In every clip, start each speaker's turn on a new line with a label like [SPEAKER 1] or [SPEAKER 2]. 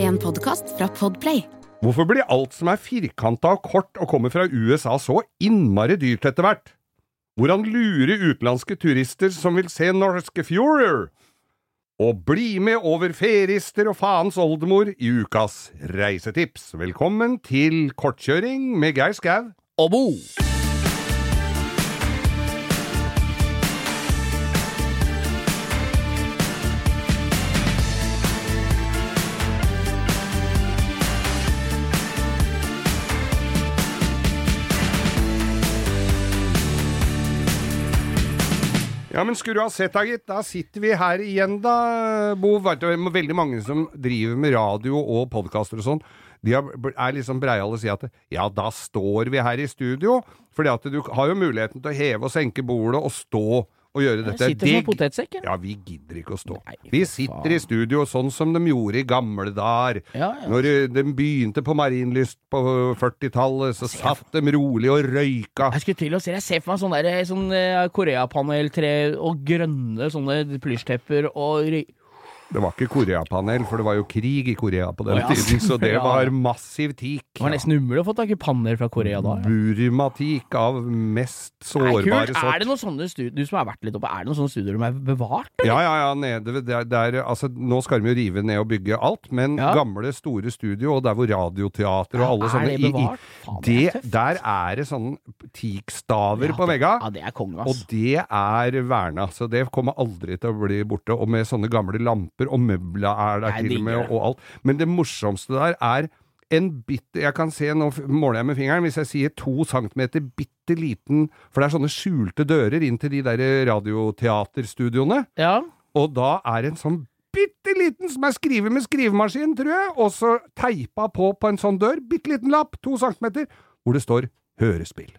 [SPEAKER 1] En podkast fra Podplay.
[SPEAKER 2] Hvorfor blir alt som er firkanta og kort og kommer fra USA så innmari dyrt etter hvert? Hvordan lure utenlandske turister som vil se norske fjorder? Og bli med over ferister og faens oldemor i ukas reisetips. Velkommen til Kortkjøring med Geir Skau.
[SPEAKER 3] og bo.
[SPEAKER 2] Ja, men skulle du ha sett deg, gitt. Da sitter vi her igjen, da, Bo. Vet du, det er Veldig mange som driver med radio og podkaster og sånn, de har- er liksom breiale og sier at ja, da står vi her i studio. Fordi at du har jo muligheten til å heve og senke bordet og stå og gjøre dette.
[SPEAKER 3] sitter som en
[SPEAKER 2] Det-
[SPEAKER 3] potetsekk, jeg.
[SPEAKER 2] Ja, vi gidder ikke å stå.
[SPEAKER 3] Nei, for
[SPEAKER 2] vi sitter i studio sånn som de gjorde i gamle dager.
[SPEAKER 3] Ja, ja.
[SPEAKER 2] Når eh, de begynte på Marienlyst på 40-tallet, så satt de rolig og røyka.
[SPEAKER 3] Jeg skulle til å si, jeg ser for meg sånn der, sånn eh, koreapaneltre og grønne sånne plysjtepper og ry-
[SPEAKER 2] Det var ikke Koreapanel, for det var jo krig i Korea på den
[SPEAKER 3] Å, ja.
[SPEAKER 2] tiden, så det
[SPEAKER 3] Ja.
[SPEAKER 2] var massiv teak.
[SPEAKER 3] Det var nesten umulig å få tak i panner fra Korea da. ja.
[SPEAKER 2] Burmatik av mest
[SPEAKER 3] Nei,
[SPEAKER 2] sårbare
[SPEAKER 3] kult. Er
[SPEAKER 2] sort.
[SPEAKER 3] det noen sånne studier, du som har vært litt oppe, er det noen sånne studier de er bevart?
[SPEAKER 2] Ja, ja, ja, nede ved der, der Altså, nå skal de jo rive ned og bygge alt, men
[SPEAKER 3] Ja.
[SPEAKER 2] gamle, store studio, og der hvor radioteater og alle
[SPEAKER 3] er
[SPEAKER 2] sånne
[SPEAKER 3] det
[SPEAKER 2] i- i-
[SPEAKER 3] bevart? Faen, det er
[SPEAKER 2] det,
[SPEAKER 3] tøft.
[SPEAKER 2] Der er det sånne teakstaver
[SPEAKER 3] Ja,
[SPEAKER 2] på
[SPEAKER 3] det-
[SPEAKER 2] vegga.
[SPEAKER 3] Ja, det er kongen,
[SPEAKER 2] Og
[SPEAKER 3] ass.
[SPEAKER 2] det er verna, så det kommer aldri til å bli borte. Og med sånne gamle lamper, og møbla er der
[SPEAKER 3] Nei,
[SPEAKER 2] til og med,
[SPEAKER 3] digger det.
[SPEAKER 2] og alt. Men det morsomste der er en bitte Jeg kan se, nå f- måler jeg med fingeren, hvis jeg sier to centimeter bitte liten For det er sånne skjulte dører inn til de der radioteaterstudioene.
[SPEAKER 3] Ja,
[SPEAKER 2] Og da er en sånn bitte liten som er skrevet med skrivemaskin, tror jeg, og så teipa på på en sånn dør, bitte liten lapp, to centimeter, hvor det står 'Hørespill'.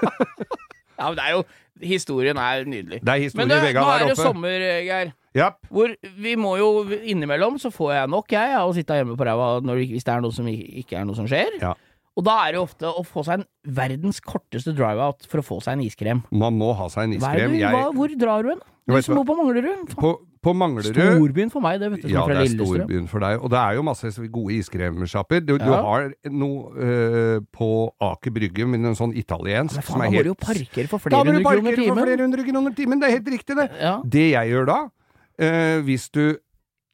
[SPEAKER 3] ja men det er jo, historien er nydelig.
[SPEAKER 2] Det er historie
[SPEAKER 3] Men du,
[SPEAKER 2] i vegga
[SPEAKER 3] nå
[SPEAKER 2] der
[SPEAKER 3] er det
[SPEAKER 2] oppe.
[SPEAKER 3] sommer, eh, Geir.
[SPEAKER 2] Japp.
[SPEAKER 3] Hvor vi må jo innimellom, så får jeg nok, jeg, av å sitte hjemme på ræva når det- hvis det er noe som ikke ikke er noe som skjer.
[SPEAKER 2] Ja.
[SPEAKER 3] Og da er det jo ofte å få seg en verdens korteste drive-out for å få seg en iskrem.
[SPEAKER 2] Man må ha seg en
[SPEAKER 3] Hva er
[SPEAKER 2] iskrem.
[SPEAKER 3] det, du- hva,
[SPEAKER 2] Jeg,
[SPEAKER 3] hvor drar du hen? Du
[SPEAKER 2] vet
[SPEAKER 3] som
[SPEAKER 2] hva-
[SPEAKER 3] bor på Manglerud? Faen,
[SPEAKER 2] på, på Manglerud
[SPEAKER 3] Storbyen for meg, det, vet du. Som
[SPEAKER 2] Ja,
[SPEAKER 3] er
[SPEAKER 2] det
[SPEAKER 3] fra
[SPEAKER 2] er
[SPEAKER 3] Lillestrøm.
[SPEAKER 2] storbyen for deg. Og det er jo masse gode iskremsjapper. Du, du
[SPEAKER 3] Ja.
[SPEAKER 2] har noe eh, på Aker Brygge, men en sånn italiensk som
[SPEAKER 3] Men faen,
[SPEAKER 2] er
[SPEAKER 3] da må
[SPEAKER 2] helt
[SPEAKER 3] du jo parkere for
[SPEAKER 2] Da må
[SPEAKER 3] flere
[SPEAKER 2] du
[SPEAKER 3] hundre kroner
[SPEAKER 2] parkere for
[SPEAKER 3] timen.
[SPEAKER 2] flere hundre kroner timen! Det er helt riktig, det!
[SPEAKER 3] Ja.
[SPEAKER 2] Det jeg gjør da, eh, hvis du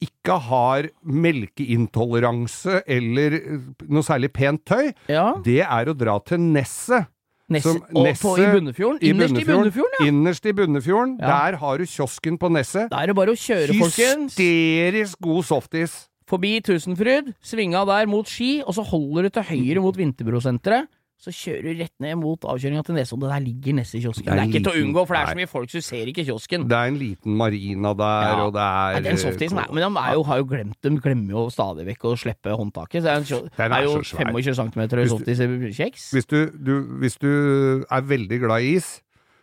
[SPEAKER 2] ikke har melkeintoleranse eller eh, noe særlig pent tøy,
[SPEAKER 3] ja.
[SPEAKER 2] det er å dra til Nesset.
[SPEAKER 3] Nesse,
[SPEAKER 2] Som-
[SPEAKER 3] og på, I
[SPEAKER 2] Nesse-
[SPEAKER 3] Bunnefjorden? Innerst i Bunnefjorden, ja.
[SPEAKER 2] Innerst i Bunnefjorden.
[SPEAKER 3] Ja.
[SPEAKER 2] Der har du kiosken på Nesset.
[SPEAKER 3] Da er det bare å kjøre, folkens.
[SPEAKER 2] Hysterisk god softis.
[SPEAKER 3] Forbi Tusenfryd, svinga der mot Ski, og så holder du til høyre mot Vinterbrosenteret. Så kjører du rett ned mot avkjøringa til Nesodden. Der ligger Nesse i
[SPEAKER 2] Det
[SPEAKER 3] kiosken. Det
[SPEAKER 2] er
[SPEAKER 3] er, ikke til å
[SPEAKER 2] liten-
[SPEAKER 3] unngå, for det er
[SPEAKER 2] nei.
[SPEAKER 3] så mye folk, så du ser ikke kiosken.
[SPEAKER 2] Det er en liten marina der,
[SPEAKER 3] Ja.
[SPEAKER 2] og det er
[SPEAKER 3] Nei, den softisen er, men de, er jo, har jo glemt, de glemmer jo stadig vekk å slippe håndtaket. Så det er, en, kio-
[SPEAKER 2] Den er
[SPEAKER 3] det er jo
[SPEAKER 2] så svær.
[SPEAKER 3] 25 cm høy
[SPEAKER 2] Hvis du-
[SPEAKER 3] softis i kjeks.
[SPEAKER 2] eh, Hvis du, du, hvis du er veldig glad i is,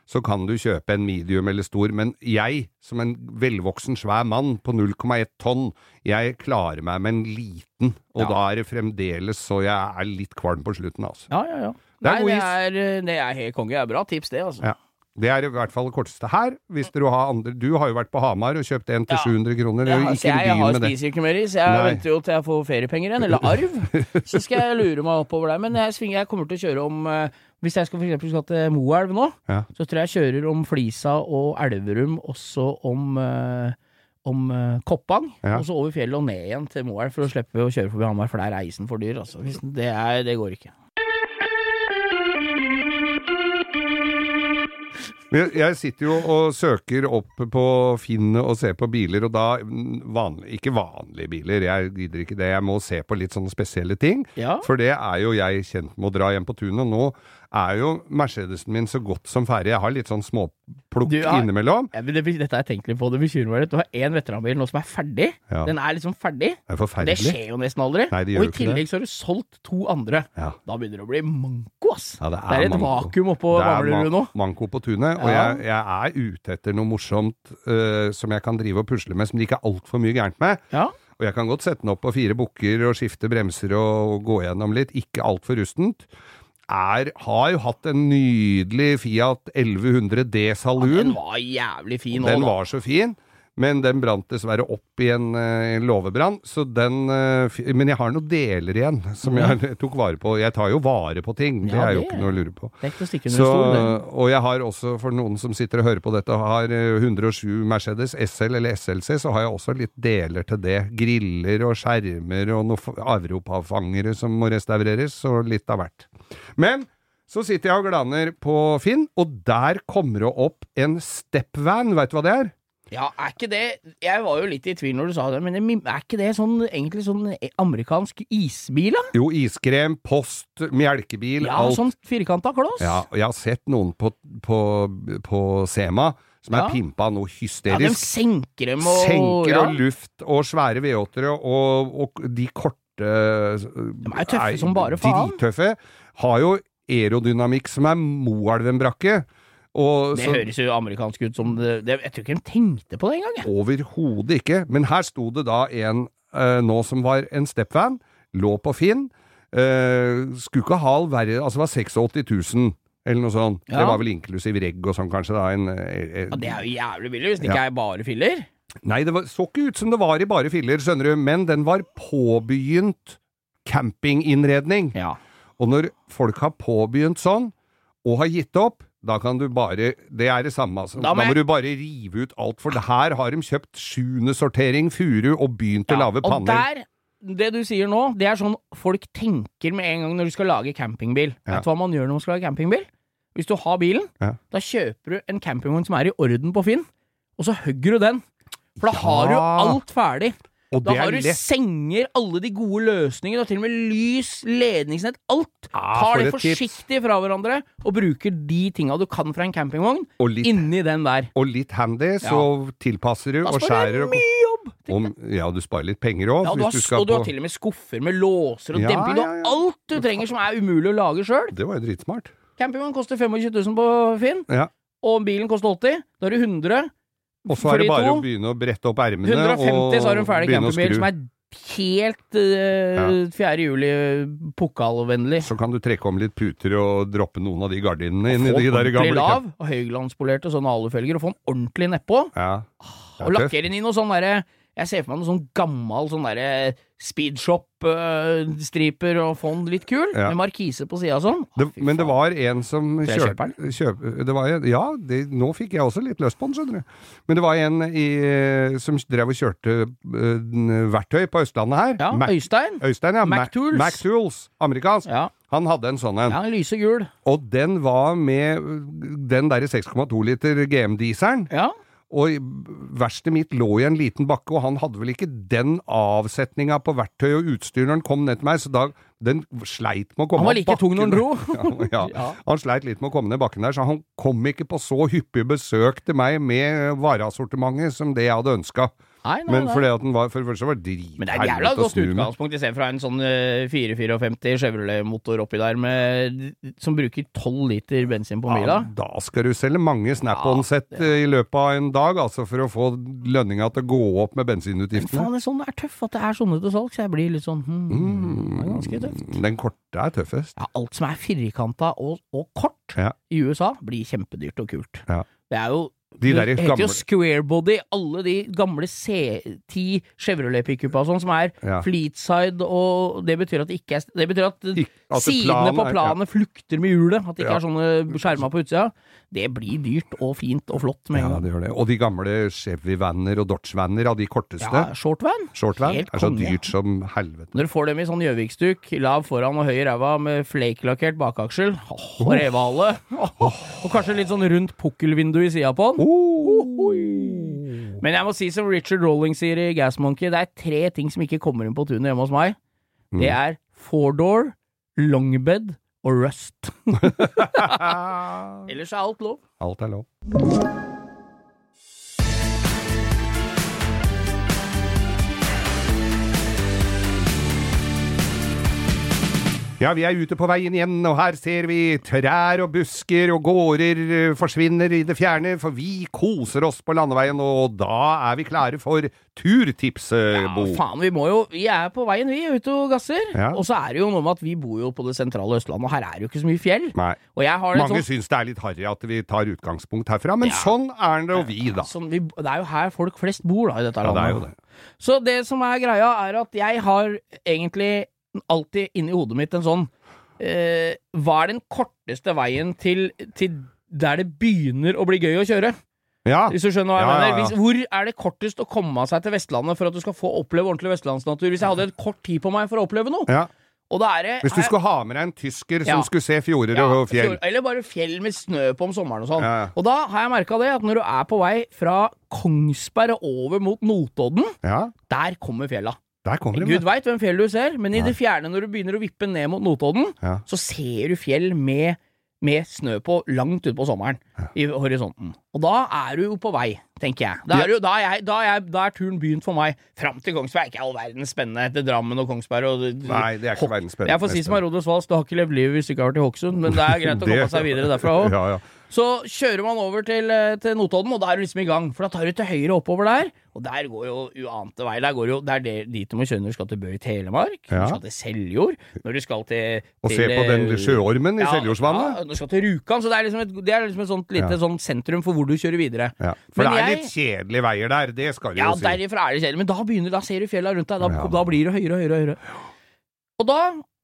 [SPEAKER 2] så kan du kjøpe en medium eller stor, men jeg, som en velvoksen svær mann på 0,1 tonn, jeg klarer meg med en liten, og
[SPEAKER 3] Ja.
[SPEAKER 2] da er det fremdeles så jeg er litt kvalm på slutten, altså.
[SPEAKER 3] Ja, ja, ja.
[SPEAKER 2] Det er
[SPEAKER 3] Nei,
[SPEAKER 2] god
[SPEAKER 3] det
[SPEAKER 2] is.
[SPEAKER 3] er, eh, det er helt konge. Det er bra tips, det, altså.
[SPEAKER 2] Ja. Det er i hvert fall det korteste her. Hvis dere har andre Du har jo vært på Hamar og kjøpt en til
[SPEAKER 3] Ja.
[SPEAKER 2] 700 kroner.
[SPEAKER 3] Jeg,
[SPEAKER 2] og
[SPEAKER 3] har-
[SPEAKER 2] ikke
[SPEAKER 3] jeg, jeg
[SPEAKER 2] begynn
[SPEAKER 3] har
[SPEAKER 2] med det.
[SPEAKER 3] spiser ikke mer is. Jeg
[SPEAKER 2] Nei.
[SPEAKER 3] venter jo til jeg får feriepenger igjen, eller arv. Så skal jeg lure meg oppover der. Men jeg, svinger, jeg kommer til å kjøre om eh, Hvis jeg skal for eksempel skal til Moelv nå,
[SPEAKER 2] Ja.
[SPEAKER 3] så tror jeg jeg kjører om Flisa og Elverum, også om eh, om eh, Koppang,
[SPEAKER 2] Ja.
[SPEAKER 3] og så over fjellet og ned igjen til Moelv for å slippe å kjøre forbi Hamar, for der er isen for dyr. Altså. Hvis- Det, er, det går ikke.
[SPEAKER 2] Jeg, jeg sitter jo og søker opp på Finn og ser på biler, og da mm, vanlig, Ikke vanlige biler, jeg gidder ikke det. Jeg må se på litt sånne spesielle ting.
[SPEAKER 3] Ja.
[SPEAKER 2] For det er jo jeg kjent med å dra hjem på tunet. Og nå er jo Mercedesen min så godt som ferdig. Jeg har litt sånn småplukk
[SPEAKER 3] Du har-
[SPEAKER 2] innimellom.
[SPEAKER 3] Ja, men det, dette har jeg tenkt litt på, det bekymrer meg litt. Du har én veteranbil nå som er ferdig.
[SPEAKER 2] Ja.
[SPEAKER 3] Den er liksom ferdig.
[SPEAKER 2] Det er
[SPEAKER 3] Det
[SPEAKER 2] forferdelig.
[SPEAKER 3] skjer jo nesten aldri.
[SPEAKER 2] Nei, det gjør jo
[SPEAKER 3] og i
[SPEAKER 2] ikke det.
[SPEAKER 3] tillegg så har du solgt to andre.
[SPEAKER 2] Ja.
[SPEAKER 3] Da begynner det å bli manko, ass.
[SPEAKER 2] Ja, det er
[SPEAKER 3] det er et
[SPEAKER 2] manko.
[SPEAKER 3] vakuum oppå
[SPEAKER 2] Det er
[SPEAKER 3] Manglerud nå.
[SPEAKER 2] man- manko på tunet, og
[SPEAKER 3] Ja.
[SPEAKER 2] jeg, jeg er ute etter noe morsomt eh, som jeg kan drive og pusle med, som det ikke er altfor mye gærent med.
[SPEAKER 3] Ja.
[SPEAKER 2] Og jeg kan godt sette den opp på fire bukker og skifte bremser og gå gjennom litt, ikke altfor rustent. Er, har jo hatt en nydelig Fiat 1100 D
[SPEAKER 3] Den
[SPEAKER 2] Saloon.
[SPEAKER 3] var jævlig fin
[SPEAKER 2] Den
[SPEAKER 3] òg, da.
[SPEAKER 2] var så fin. Men den brant dessverre opp i en, eh, en låvebrann. Så den eh, fi- Men jeg har noen deler igjen som jeg tok vare på. Jeg tar jo vare på ting, det
[SPEAKER 3] Ja,
[SPEAKER 2] er jo
[SPEAKER 3] det-
[SPEAKER 2] ikke noe å lure på.
[SPEAKER 3] Det er ikke til å stikke under
[SPEAKER 2] Så,
[SPEAKER 3] stolen. det.
[SPEAKER 2] og jeg har også, for noen som sitter og hører på dette, og har eh, 107 Mercedes SL eller SLC, så har jeg også litt deler til det. Griller og skjermer og noen avropavfangere som må restaureres, og litt av hvert. Men så sitter jeg og glaner på Finn, og der kommer det opp en stepvan, veit du hva det er?
[SPEAKER 3] Ja, er ikke det Jeg var jo litt i tvil når du sa det, men det mim- er ikke det sånn, egentlig sånn amerikansk isbil, da?
[SPEAKER 2] Jo, iskrem, post, melkebil,
[SPEAKER 3] Ja,
[SPEAKER 2] alt.
[SPEAKER 3] sånn firkanta kloss?
[SPEAKER 2] Ja, og jeg har sett noen på, på, på Sema som er
[SPEAKER 3] Ja.
[SPEAKER 2] pimpa noe
[SPEAKER 3] Ja, de
[SPEAKER 2] hysterisk.
[SPEAKER 3] senker dem og
[SPEAKER 2] senker
[SPEAKER 3] ja.
[SPEAKER 2] og luft og svære V8-ere og, og de korte De
[SPEAKER 3] er jo tøffe som bare faen.
[SPEAKER 2] Drittøffe. Har jo aerodynamikk som er Moelven-brakke. Og
[SPEAKER 3] Det
[SPEAKER 2] så-
[SPEAKER 3] høres jo amerikansk ut som det, det Jeg tror ikke de tenkte på det engang, jeg.
[SPEAKER 2] Overhodet ikke. Men her sto det da en eh, nå som var en stepvan, lå på Finn. eh, skulle ikke ha all verre Altså, det var 86 000, eller noe sånt.
[SPEAKER 3] Ja.
[SPEAKER 2] Det var vel inklusiv regg og sånn, kanskje, da. En, eh, eh,
[SPEAKER 3] Ja, det er jo jævlig billig hvis det ikke er bare filler.
[SPEAKER 2] Nei, det var, så ikke ut som det var i bare filler, skjønner du, men den var påbegynt campinginnredning.
[SPEAKER 3] Ja.
[SPEAKER 2] Og når folk har påbegynt sånn, og har gitt opp, da kan du bare Det er det samme, altså.
[SPEAKER 3] Da
[SPEAKER 2] Da
[SPEAKER 3] må
[SPEAKER 2] må,
[SPEAKER 3] jeg-
[SPEAKER 2] du bare rive ut alt, for det her har de kjøpt sjuende sortering furu og begynt å lage
[SPEAKER 3] og
[SPEAKER 2] panner.
[SPEAKER 3] der, det du sier nå, det er sånn folk tenker med en gang når du skal lage campingbil.
[SPEAKER 2] Ja.
[SPEAKER 3] Vet du hva man gjør når man skal lage campingbil? Hvis du har bilen,
[SPEAKER 2] Ja.
[SPEAKER 3] da kjøper du en campingvogn som er i orden på Finn, og så hugger du den. For da har du
[SPEAKER 2] Ja.
[SPEAKER 3] alt ferdig.
[SPEAKER 2] Og
[SPEAKER 3] Da
[SPEAKER 2] det
[SPEAKER 3] har
[SPEAKER 2] er
[SPEAKER 3] du
[SPEAKER 2] lett.
[SPEAKER 3] senger, alle de gode løsningene, og til og med lys, ledningsnett, alt.
[SPEAKER 2] Ja,
[SPEAKER 3] Tar
[SPEAKER 2] for
[SPEAKER 3] det
[SPEAKER 2] et tips.
[SPEAKER 3] forsiktig fra hverandre, og bruker de tinga du kan fra en campingvogn,
[SPEAKER 2] Og litt,
[SPEAKER 3] inni den der.
[SPEAKER 2] og litt handy, så tilpasser du
[SPEAKER 3] Da
[SPEAKER 2] og
[SPEAKER 3] sparer
[SPEAKER 2] skjærer
[SPEAKER 3] du
[SPEAKER 2] og,
[SPEAKER 3] mye jobb!
[SPEAKER 2] om, Ja, du sparer litt penger òg,
[SPEAKER 3] Ja, du har,
[SPEAKER 2] hvis du skal
[SPEAKER 3] og du har
[SPEAKER 2] på
[SPEAKER 3] til og med skuffer med låser og
[SPEAKER 2] Ja,
[SPEAKER 3] demping. Du har
[SPEAKER 2] ja, ja.
[SPEAKER 3] alt du trenger som er umulig å lage sjøl.
[SPEAKER 2] Det var jo dritsmart.
[SPEAKER 3] Campingvogn koster 25 000 på Finn,
[SPEAKER 2] Ja.
[SPEAKER 3] og bilen koster 80 Da er det 100
[SPEAKER 2] Og så er det
[SPEAKER 3] For
[SPEAKER 2] bare
[SPEAKER 3] de to,
[SPEAKER 2] å begynne å brette opp ermene og
[SPEAKER 3] 150 så har du en ferdig
[SPEAKER 2] begynne å
[SPEAKER 3] campingbil
[SPEAKER 2] skru.
[SPEAKER 3] som er helt uh, 4. juli-pokalvennlig.
[SPEAKER 2] Så kan du trekke om litt puter og droppe noen av de gardinene inn i
[SPEAKER 3] Få
[SPEAKER 2] de
[SPEAKER 3] den
[SPEAKER 2] der
[SPEAKER 3] ordentlig
[SPEAKER 2] gamle
[SPEAKER 3] lav og høyglanspolerte sånne alufelger, og få den ordentlig nedpå.
[SPEAKER 2] kjøp- Ja. Det er
[SPEAKER 3] Og
[SPEAKER 2] tøft.
[SPEAKER 3] lakkere den i noe sånn derre Jeg ser for meg noe sånn gammal sånn derre speedshop-striper og få den litt kul,
[SPEAKER 2] Ja.
[SPEAKER 3] med markise på sida og sånn. Å,
[SPEAKER 2] Det,
[SPEAKER 3] fy
[SPEAKER 2] men det
[SPEAKER 3] faen.
[SPEAKER 2] var en som
[SPEAKER 3] jeg
[SPEAKER 2] kjørte
[SPEAKER 3] kjøper
[SPEAKER 2] kjøp, det var en, Ja, det, nå fikk jeg også litt lyst på den, skjønner du. Men det var en i, som drev og kjørte øh, verktøy på Østlandet her.
[SPEAKER 3] Ja,
[SPEAKER 2] Mac,
[SPEAKER 3] Øystein.
[SPEAKER 2] Øystein, ja.
[SPEAKER 3] Mac Tools.
[SPEAKER 2] Mac Tools. Amerikansk.
[SPEAKER 3] Ja,
[SPEAKER 2] Han hadde en sånn en.
[SPEAKER 3] ja lyse gul.
[SPEAKER 2] Og den var med øh, den derre 6,2 liter GM-dieselen.
[SPEAKER 3] Ja.
[SPEAKER 2] Og verkstedet mitt lå i en liten bakke, og han hadde vel ikke den avsetninga på verktøy og utstyr når han kom ned til meg, så da Den sleit med å komme
[SPEAKER 3] Han var
[SPEAKER 2] opp
[SPEAKER 3] like tung når han dro.
[SPEAKER 2] bakken. ja, ja.
[SPEAKER 3] Ja.
[SPEAKER 2] Han sleit litt med å komme ned bakken der, så han kom ikke på så hyppig besøk til meg med vareassortimentet som det jeg hadde ønska.
[SPEAKER 3] Nei, nei,
[SPEAKER 2] Men
[SPEAKER 3] nei.
[SPEAKER 2] fordi at den var For det første var det drithelvete
[SPEAKER 3] Men det er et jævla
[SPEAKER 2] å
[SPEAKER 3] godt
[SPEAKER 2] snu med.
[SPEAKER 3] utgangspunkt i stedet fra en sånn eh, 454 Chevrolet-motor oppi der med, som bruker 12 liter bensin på mila.
[SPEAKER 2] Ja, da skal du selge mange Snap-on-sett eh, i løpet av en dag, altså, for å få lønninga til å gå opp med bensinutgiftene.
[SPEAKER 3] Faen, det er sånn det er tøff at det er sånne til salg, så jeg blir litt sånn hmm, det
[SPEAKER 2] Mm.
[SPEAKER 3] er ganske tøft.
[SPEAKER 2] Den korte er tøffest.
[SPEAKER 3] Ja, alt som er firkanta og, og kort
[SPEAKER 2] Ja.
[SPEAKER 3] i USA, blir kjempedyrt og kult.
[SPEAKER 2] Ja.
[SPEAKER 3] Det er jo
[SPEAKER 2] De der
[SPEAKER 3] det heter
[SPEAKER 2] gamle
[SPEAKER 3] jo squarebody, alle de gamle C10 Chevrolet pickupa og sånn, som er
[SPEAKER 2] Ja.
[SPEAKER 3] fleetside, og det betyr at det ikke er Det betyr at
[SPEAKER 2] Ikke- at
[SPEAKER 3] sidene
[SPEAKER 2] planen
[SPEAKER 3] på
[SPEAKER 2] er-
[SPEAKER 3] planet flukter med hjulet, at det
[SPEAKER 2] Ja.
[SPEAKER 3] ikke er sånne skjermer på utsida. Det blir dyrt og fint og flott med
[SPEAKER 2] Ja,
[SPEAKER 3] en gang.
[SPEAKER 2] det gjør det. Og de gamle Chevy-vanner og Dodge-vanner av de korteste,
[SPEAKER 3] Ja, shortvan.
[SPEAKER 2] shortvan,
[SPEAKER 3] helt
[SPEAKER 2] er så
[SPEAKER 3] konge.
[SPEAKER 2] dyrt som helvete.
[SPEAKER 3] Når du får dem i sånn Gjøvik-stuk, lav foran og høy i ræva med flake-lakkert bakaksel, åh, og revehale, og kanskje litt sånn rundt pukkelvindu i sida på den. Men jeg må si som Richard Rolling sier i Gas Monkey, det er tre ting som ikke kommer inn på tunet hjemme hos meg.
[SPEAKER 2] Mm.
[SPEAKER 3] Det er four-door, longbed og rust. Ellers er alt lov.
[SPEAKER 2] Alt er lov. Ja, vi er ute på veien igjen, og her ser vi trær og busker og gårder eh, forsvinner i det fjerne, for vi koser oss på landeveien, og da er vi klare for turtipset,
[SPEAKER 3] Ja,
[SPEAKER 2] Bo.
[SPEAKER 3] faen, vi må jo Vi er på veien, vi, ute og gasser.
[SPEAKER 2] Ja.
[SPEAKER 3] Og så er det jo noe med at vi bor jo på det sentrale Østlandet, og her er det jo ikke så mye fjell.
[SPEAKER 2] Nei.
[SPEAKER 3] Og jeg har det
[SPEAKER 2] Mange
[SPEAKER 3] sånn,
[SPEAKER 2] syns det er litt harry at vi tar utgangspunkt herfra, men
[SPEAKER 3] Ja.
[SPEAKER 2] sånn er det jo vi, da.
[SPEAKER 3] sånn vi, Det er jo her folk flest bor, da, i dette
[SPEAKER 2] Ja, det
[SPEAKER 3] landet.
[SPEAKER 2] er jo det.
[SPEAKER 3] Så det som er greia, er at jeg har egentlig alltid inni hodet mitt en sånn eh, Hva er den korteste veien til, til der det begynner å bli gøy å kjøre?
[SPEAKER 2] Ja,
[SPEAKER 3] Hvis du skjønner hva
[SPEAKER 2] Ja,
[SPEAKER 3] jeg
[SPEAKER 2] ja,
[SPEAKER 3] mener.
[SPEAKER 2] ja.
[SPEAKER 3] Hvis, hvor er det kortest å komme seg til Vestlandet for at du skal få oppleve ordentlig vestlandsnatur? Hvis jeg hadde en kort tid på meg for å oppleve noe.
[SPEAKER 2] ja.
[SPEAKER 3] Og da er det
[SPEAKER 2] Hvis du
[SPEAKER 3] er-
[SPEAKER 2] skulle ha med deg en tysker som
[SPEAKER 3] Ja.
[SPEAKER 2] skulle se fjorder
[SPEAKER 3] ja,
[SPEAKER 2] og fjell.
[SPEAKER 3] fjord- Eller bare fjell med snø på om sommeren og sånn.
[SPEAKER 2] Ja, ja.
[SPEAKER 3] Og da har jeg merka det, at når du er på vei fra Kongsberg og over mot Notodden,
[SPEAKER 2] Ja,
[SPEAKER 3] der kommer fjella.
[SPEAKER 2] der kommer de. med.
[SPEAKER 3] Gud veit hvem fjell du ser, men i det fjerne når du begynner å vippe ned mot Notodden,
[SPEAKER 2] Ja.
[SPEAKER 3] så ser du fjell med, med snø på langt utpå sommeren i horisonten. Og da er du jo på vei, tenker jeg. Da er, du, da er, jeg, da er, jeg, da er turen begynt for meg. Fram til Kongsberg er ikke all verdens spennende etter Drammen og Kongsberg og
[SPEAKER 2] Nei, det er ikke verdens spennende.
[SPEAKER 3] Jeg får si som er Rodos Vals, du har ikke levd livet hvis du ikke har vært i Hokksund, men det er greit å
[SPEAKER 2] Det-
[SPEAKER 3] komme seg videre derfra òg.
[SPEAKER 2] Ja, ja.
[SPEAKER 3] Så kjører man over til, eh, til Notodden, og da er du liksom i gang. For da tar du til høyre oppover der, og der går jo uante veier. Der går jo, det er det- dit du må kjøre når du skal til Bø i Telemark, når
[SPEAKER 2] Ja.
[SPEAKER 3] du skal til Seljord, når du skal til eh,
[SPEAKER 2] Og se på den sjøormen i Seljordsvannet.
[SPEAKER 3] Ja, når du skal til Rjukan. Så det er liksom et, det er liksom et sånt lite
[SPEAKER 2] Ja.
[SPEAKER 3] sånn sentrum for hvor du kjører videre.
[SPEAKER 2] Ja. For
[SPEAKER 3] Men
[SPEAKER 2] det er
[SPEAKER 3] jeg-
[SPEAKER 2] litt kjedelige veier der, det skal du
[SPEAKER 3] Ja,
[SPEAKER 2] jo si.
[SPEAKER 3] derifra er det kjedelig, men da begynner, da ser du fjella rundt deg. Da,
[SPEAKER 2] Ja.
[SPEAKER 3] da blir det høyere og høyere og høyere. Og da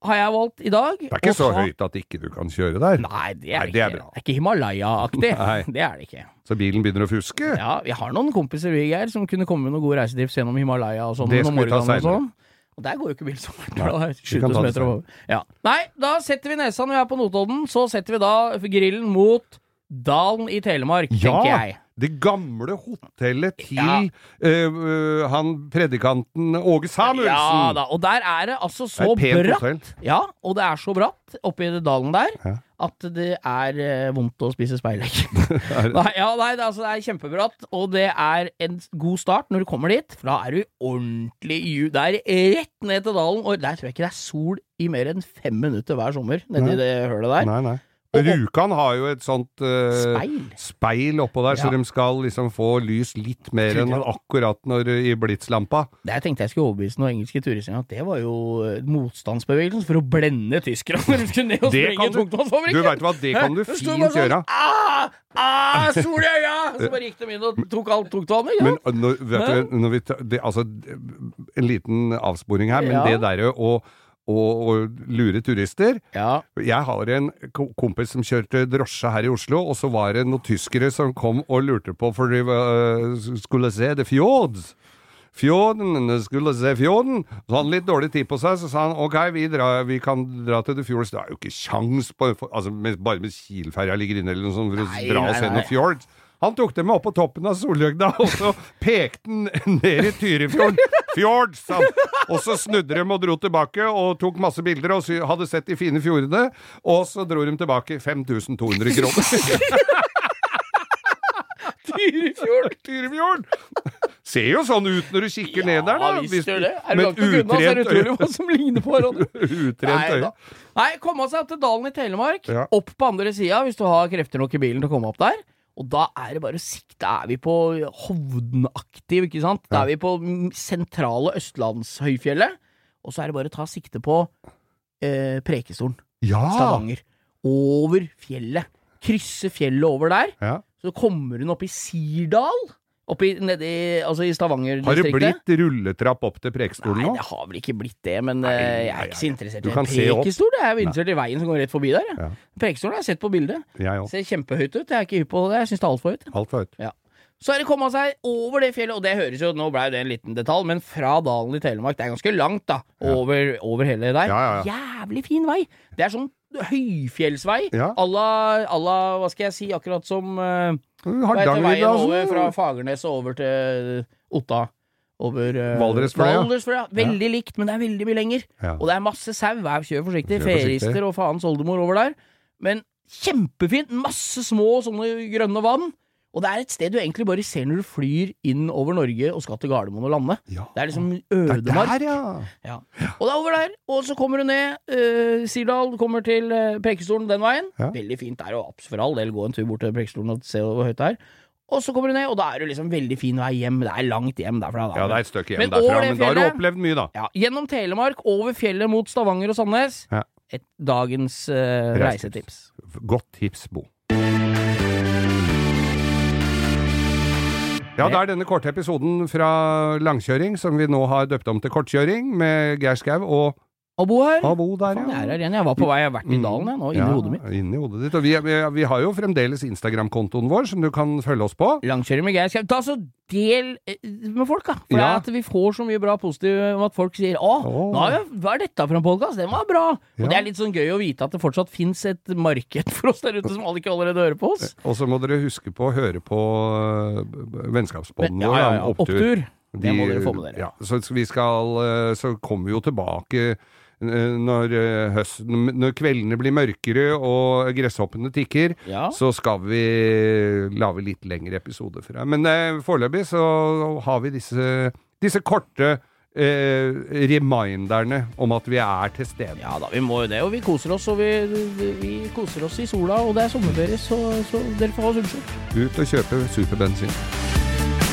[SPEAKER 3] har jeg valgt i dag
[SPEAKER 2] Det er ikke så høyt at ikke du kan kjøre der.
[SPEAKER 3] Nei, det er,
[SPEAKER 2] Nei,
[SPEAKER 3] det
[SPEAKER 2] det er
[SPEAKER 3] ikke,
[SPEAKER 2] bra.
[SPEAKER 3] det er ikke Himalaya-aktig.
[SPEAKER 2] Nei.
[SPEAKER 3] Det er det ikke.
[SPEAKER 2] Så bilen begynner å fuske.
[SPEAKER 3] Ja, vi har noen kompiser vi, Geir, som kunne komme med noen gode reisetips gjennom Himalaya og sånn.
[SPEAKER 2] Det skal
[SPEAKER 3] om
[SPEAKER 2] vi ta
[SPEAKER 3] morgenen og
[SPEAKER 2] senere.
[SPEAKER 3] sånn. Og der går jo ikke bil som verdt.
[SPEAKER 2] Nei,
[SPEAKER 3] da er det
[SPEAKER 2] vi kan ta
[SPEAKER 3] 7000
[SPEAKER 2] det
[SPEAKER 3] meter over. Ja. Nei, da setter vi nesa når vi er på Notodden. Så setter vi da grillen mot Dalen i Telemark, tenker jeg.
[SPEAKER 2] Det gamle hotellet til
[SPEAKER 3] Ja.
[SPEAKER 2] eh, øh, han predikanten Åge Samuelsen.
[SPEAKER 3] Ja da, og der er det altså
[SPEAKER 2] Det er
[SPEAKER 3] så
[SPEAKER 2] et pent
[SPEAKER 3] bratt.
[SPEAKER 2] hotell.
[SPEAKER 3] Ja, og det er så bratt oppi dalen der
[SPEAKER 2] Ja.
[SPEAKER 3] at det er eh, vondt å spise speilegg.
[SPEAKER 2] Er det-
[SPEAKER 3] nei, ja, nei, det, er altså, det er kjempebratt, og det er en god start når du kommer dit, for da er du ordentlig i ju... Det er rett ned til dalen, og der tror jeg ikke det er sol i mer enn fem minutter hver sommer
[SPEAKER 2] Nei.
[SPEAKER 3] nedi det hølet der.
[SPEAKER 2] Nei, nei.
[SPEAKER 3] Og-
[SPEAKER 2] Rjukan har jo et sånt eh,
[SPEAKER 3] Speil.
[SPEAKER 2] speil oppå der, så
[SPEAKER 3] Ja.
[SPEAKER 2] de skal liksom få lys litt mer enn akkurat når, i blitslampa.
[SPEAKER 3] Det jeg tenkte jeg skulle overbevise noen engelske turister om, at det var jo eh, motstandsbevegelsen for å blende tyskerne når de skulle ned og
[SPEAKER 2] Det
[SPEAKER 3] sprenge
[SPEAKER 2] kan
[SPEAKER 3] en
[SPEAKER 2] du-
[SPEAKER 3] tungtvannsfabrikk.
[SPEAKER 2] Du veit hva, det kan du
[SPEAKER 3] Hæ? Så sto
[SPEAKER 2] fint
[SPEAKER 3] det bare
[SPEAKER 2] gjøre.
[SPEAKER 3] Sånn, ah, ah, sol i øya! Så bare gikk de inn og tok alt tungtvannet. Ja.
[SPEAKER 2] Men uh, når, vet du, når vi tar, det, altså, d- en liten avsporing her, men
[SPEAKER 3] Ja.
[SPEAKER 2] det derre å, å, å lure turister
[SPEAKER 3] ja.
[SPEAKER 2] Jeg har en ko- kompis som kjørte drosje her i Oslo, og så var det noen tyskere som kom og lurte på for de øh, skulle se The Fjords. Fjorden, de skulle se fjorden. Så han litt dårlig tid på seg, så sa han ok, vi, drar- vi kan dra til The Fjords. Det er jo ikke kjangs på for, altså, med, Bare med Kielferja ligger inne eller noe sånt for
[SPEAKER 3] Nei,
[SPEAKER 2] å dra
[SPEAKER 3] nei,
[SPEAKER 2] og se
[SPEAKER 3] nei.
[SPEAKER 2] noen fjords. Han tok dem med opp på toppen av Solhjøgda, og så pekte han ned i Tyrifjorden. Fjord, sa han. Og så snudde de og dro tilbake, og tok masse bilder, og sy hadde sett de fine fjordene. Og så dro de tilbake 5200 kroner.
[SPEAKER 3] Tyrifjorden!
[SPEAKER 2] Tyrifjorden! Ser jo sånn ut når du kikker ned der, da.
[SPEAKER 3] Ja, visst
[SPEAKER 2] Hvis-
[SPEAKER 3] gjør det. Er du
[SPEAKER 2] med
[SPEAKER 3] langt unna, så er det
[SPEAKER 2] utrent
[SPEAKER 3] utrolig
[SPEAKER 2] øye.
[SPEAKER 3] hva som ligner på hverandre.
[SPEAKER 2] Utrent
[SPEAKER 3] Nei,
[SPEAKER 2] øye.
[SPEAKER 3] da. Nei, komme seg opp til dalen i Telemark.
[SPEAKER 2] Ja.
[SPEAKER 3] Opp på andre sida hvis du har krefter nok i bilen til å komme opp der. Og da er det bare å sikte. Da er vi på Hovdenaktiv, ikke sant? Da er vi på mm, sentrale Østlandshøyfjellet. Og så er det bare å ta sikte på eh, Prekestolen.
[SPEAKER 2] Ja!
[SPEAKER 3] Stavanger. Over fjellet. Krysse fjellet over der.
[SPEAKER 2] ja.
[SPEAKER 3] Så kommer hun opp i Sirdal. Oppe i, nedi, altså i
[SPEAKER 2] Har det
[SPEAKER 3] Stavanger-distriktet.
[SPEAKER 2] blitt rulletrapp opp til Prekestolen
[SPEAKER 3] Nei,
[SPEAKER 2] nå?
[SPEAKER 3] det har vel ikke blitt det, men
[SPEAKER 2] Nei,
[SPEAKER 3] eh, jeg
[SPEAKER 2] nei,
[SPEAKER 3] er ikke
[SPEAKER 2] nei.
[SPEAKER 3] så interessert
[SPEAKER 2] Du
[SPEAKER 3] i en
[SPEAKER 2] kan se opp.
[SPEAKER 3] prekestol. Jeg er jo interessert i veien som går rett forbi der. jeg.
[SPEAKER 2] Ja.
[SPEAKER 3] Prekestolen har jeg sett på bildet.
[SPEAKER 2] Jeg òg.
[SPEAKER 3] Ser kjempehøyt ut. Jeg er ikke hypp på det. Jeg syns det er altfor høyt.
[SPEAKER 2] Alt for høyt.
[SPEAKER 3] Ja. Så er det kommet seg over det fjellet, og det høres jo, nå blei det en liten detalj, men fra dalen i Telemark, det er ganske langt da, over, over hele der.
[SPEAKER 2] Ja, ja, ja.
[SPEAKER 3] Jævlig fin vei! Det er sånn høyfjellsvei,
[SPEAKER 2] Ja.
[SPEAKER 3] à la, à la, hva skal jeg si, akkurat som eh, hva heter veien over
[SPEAKER 2] Hardangervidda,
[SPEAKER 3] fra
[SPEAKER 2] altså.
[SPEAKER 3] Fagernes og over til Otta? Over eh,
[SPEAKER 2] Valdresfløya.
[SPEAKER 3] Valdresfløya. Veldig likt, men det er veldig mye lenger.
[SPEAKER 2] Ja.
[SPEAKER 3] Og det er masse sau. Vær- Kjør forsiktig.
[SPEAKER 2] Kjør forsiktig.
[SPEAKER 3] Ferister og faens oldemor over der. Men kjempefint. Masse små sånne grønne vann. Og det er et sted du egentlig bare ser når du flyr inn over Norge og skal til Gardermoen og lande.
[SPEAKER 2] Ja.
[SPEAKER 3] Det er liksom
[SPEAKER 2] Det er
[SPEAKER 3] ødemark.
[SPEAKER 2] der, ja.
[SPEAKER 3] Ja. Og det er over der, og så kommer du ned eh, Sirdal, kommer til eh, Preikestolen den veien.
[SPEAKER 2] Ja.
[SPEAKER 3] Veldig fint der, og abs- for all del, gå en tur bort til Preikestolen og se hvor høyt det er. Og så kommer du ned, og da er det liksom veldig fin vei hjem. Det er langt hjem derfra. Da.
[SPEAKER 2] Ja, det er et stykke hjem
[SPEAKER 3] Men
[SPEAKER 2] derfra,
[SPEAKER 3] over det
[SPEAKER 2] men da har du
[SPEAKER 3] fjellet-
[SPEAKER 2] opplevd mye, da.
[SPEAKER 3] Ja, gjennom Telemark, over fjellet mot Stavanger og Sandnes.
[SPEAKER 2] Ja.
[SPEAKER 3] Et, dagens eh,
[SPEAKER 2] Reisetips.
[SPEAKER 3] reisetips.
[SPEAKER 2] Godt tips, Bo. Ja, det er denne korte episoden fra langkjøring som vi nå har døpt om til kortkjøring, med Geir Skau og
[SPEAKER 3] Og bo her.
[SPEAKER 2] Abo der,
[SPEAKER 3] Faen, jeg er her igjen. Jeg var på vei, jeg har vært i dalen jeg, nå,
[SPEAKER 2] Mm.
[SPEAKER 3] inni
[SPEAKER 2] Ja,
[SPEAKER 3] hodet mitt.
[SPEAKER 2] Inni hodet ditt. Og vi, vi, vi har jo fremdeles Instagram-kontoen vår, som du kan følge oss på.
[SPEAKER 3] Langkjøring med Geir Skau. Ta så del eh, med folk, da. For det
[SPEAKER 2] Ja.
[SPEAKER 3] er at vi får så mye bra positivt om at folk sier 'Å,
[SPEAKER 2] Åh.
[SPEAKER 3] nå har jeg, hva er dette for en podkast? Den var bra!' Og
[SPEAKER 2] Ja.
[SPEAKER 3] det er litt sånn gøy å vite at det fortsatt fins et marked for oss der ute som alle ikke allerede hører på oss.
[SPEAKER 2] Og så må dere huske på å høre på øh, vennskapsbånden
[SPEAKER 3] Men-
[SPEAKER 2] vår, da,
[SPEAKER 3] ja, ja, ja.
[SPEAKER 2] med opptur.
[SPEAKER 3] Opptur. Det
[SPEAKER 2] De-
[SPEAKER 3] må dere få med dere.
[SPEAKER 2] Ja, så s- vi skal øh, Så kommer vi jo tilbake øh, når øh, høsten Når kveldene blir mørkere og gresshoppene tikker.
[SPEAKER 3] Ja.
[SPEAKER 2] Så skal vi lage litt lengre episoder for deg. Men eh, foreløpig så har vi disse, disse korte eh, reminderne om at vi er til stede.
[SPEAKER 3] Ja da, vi må jo det. Og vi koser oss, og vi, vi koser oss i sola, og det er sommerferie, så, så dere får ha oss unnskyldt.
[SPEAKER 2] Ut og kjøpe superbensin.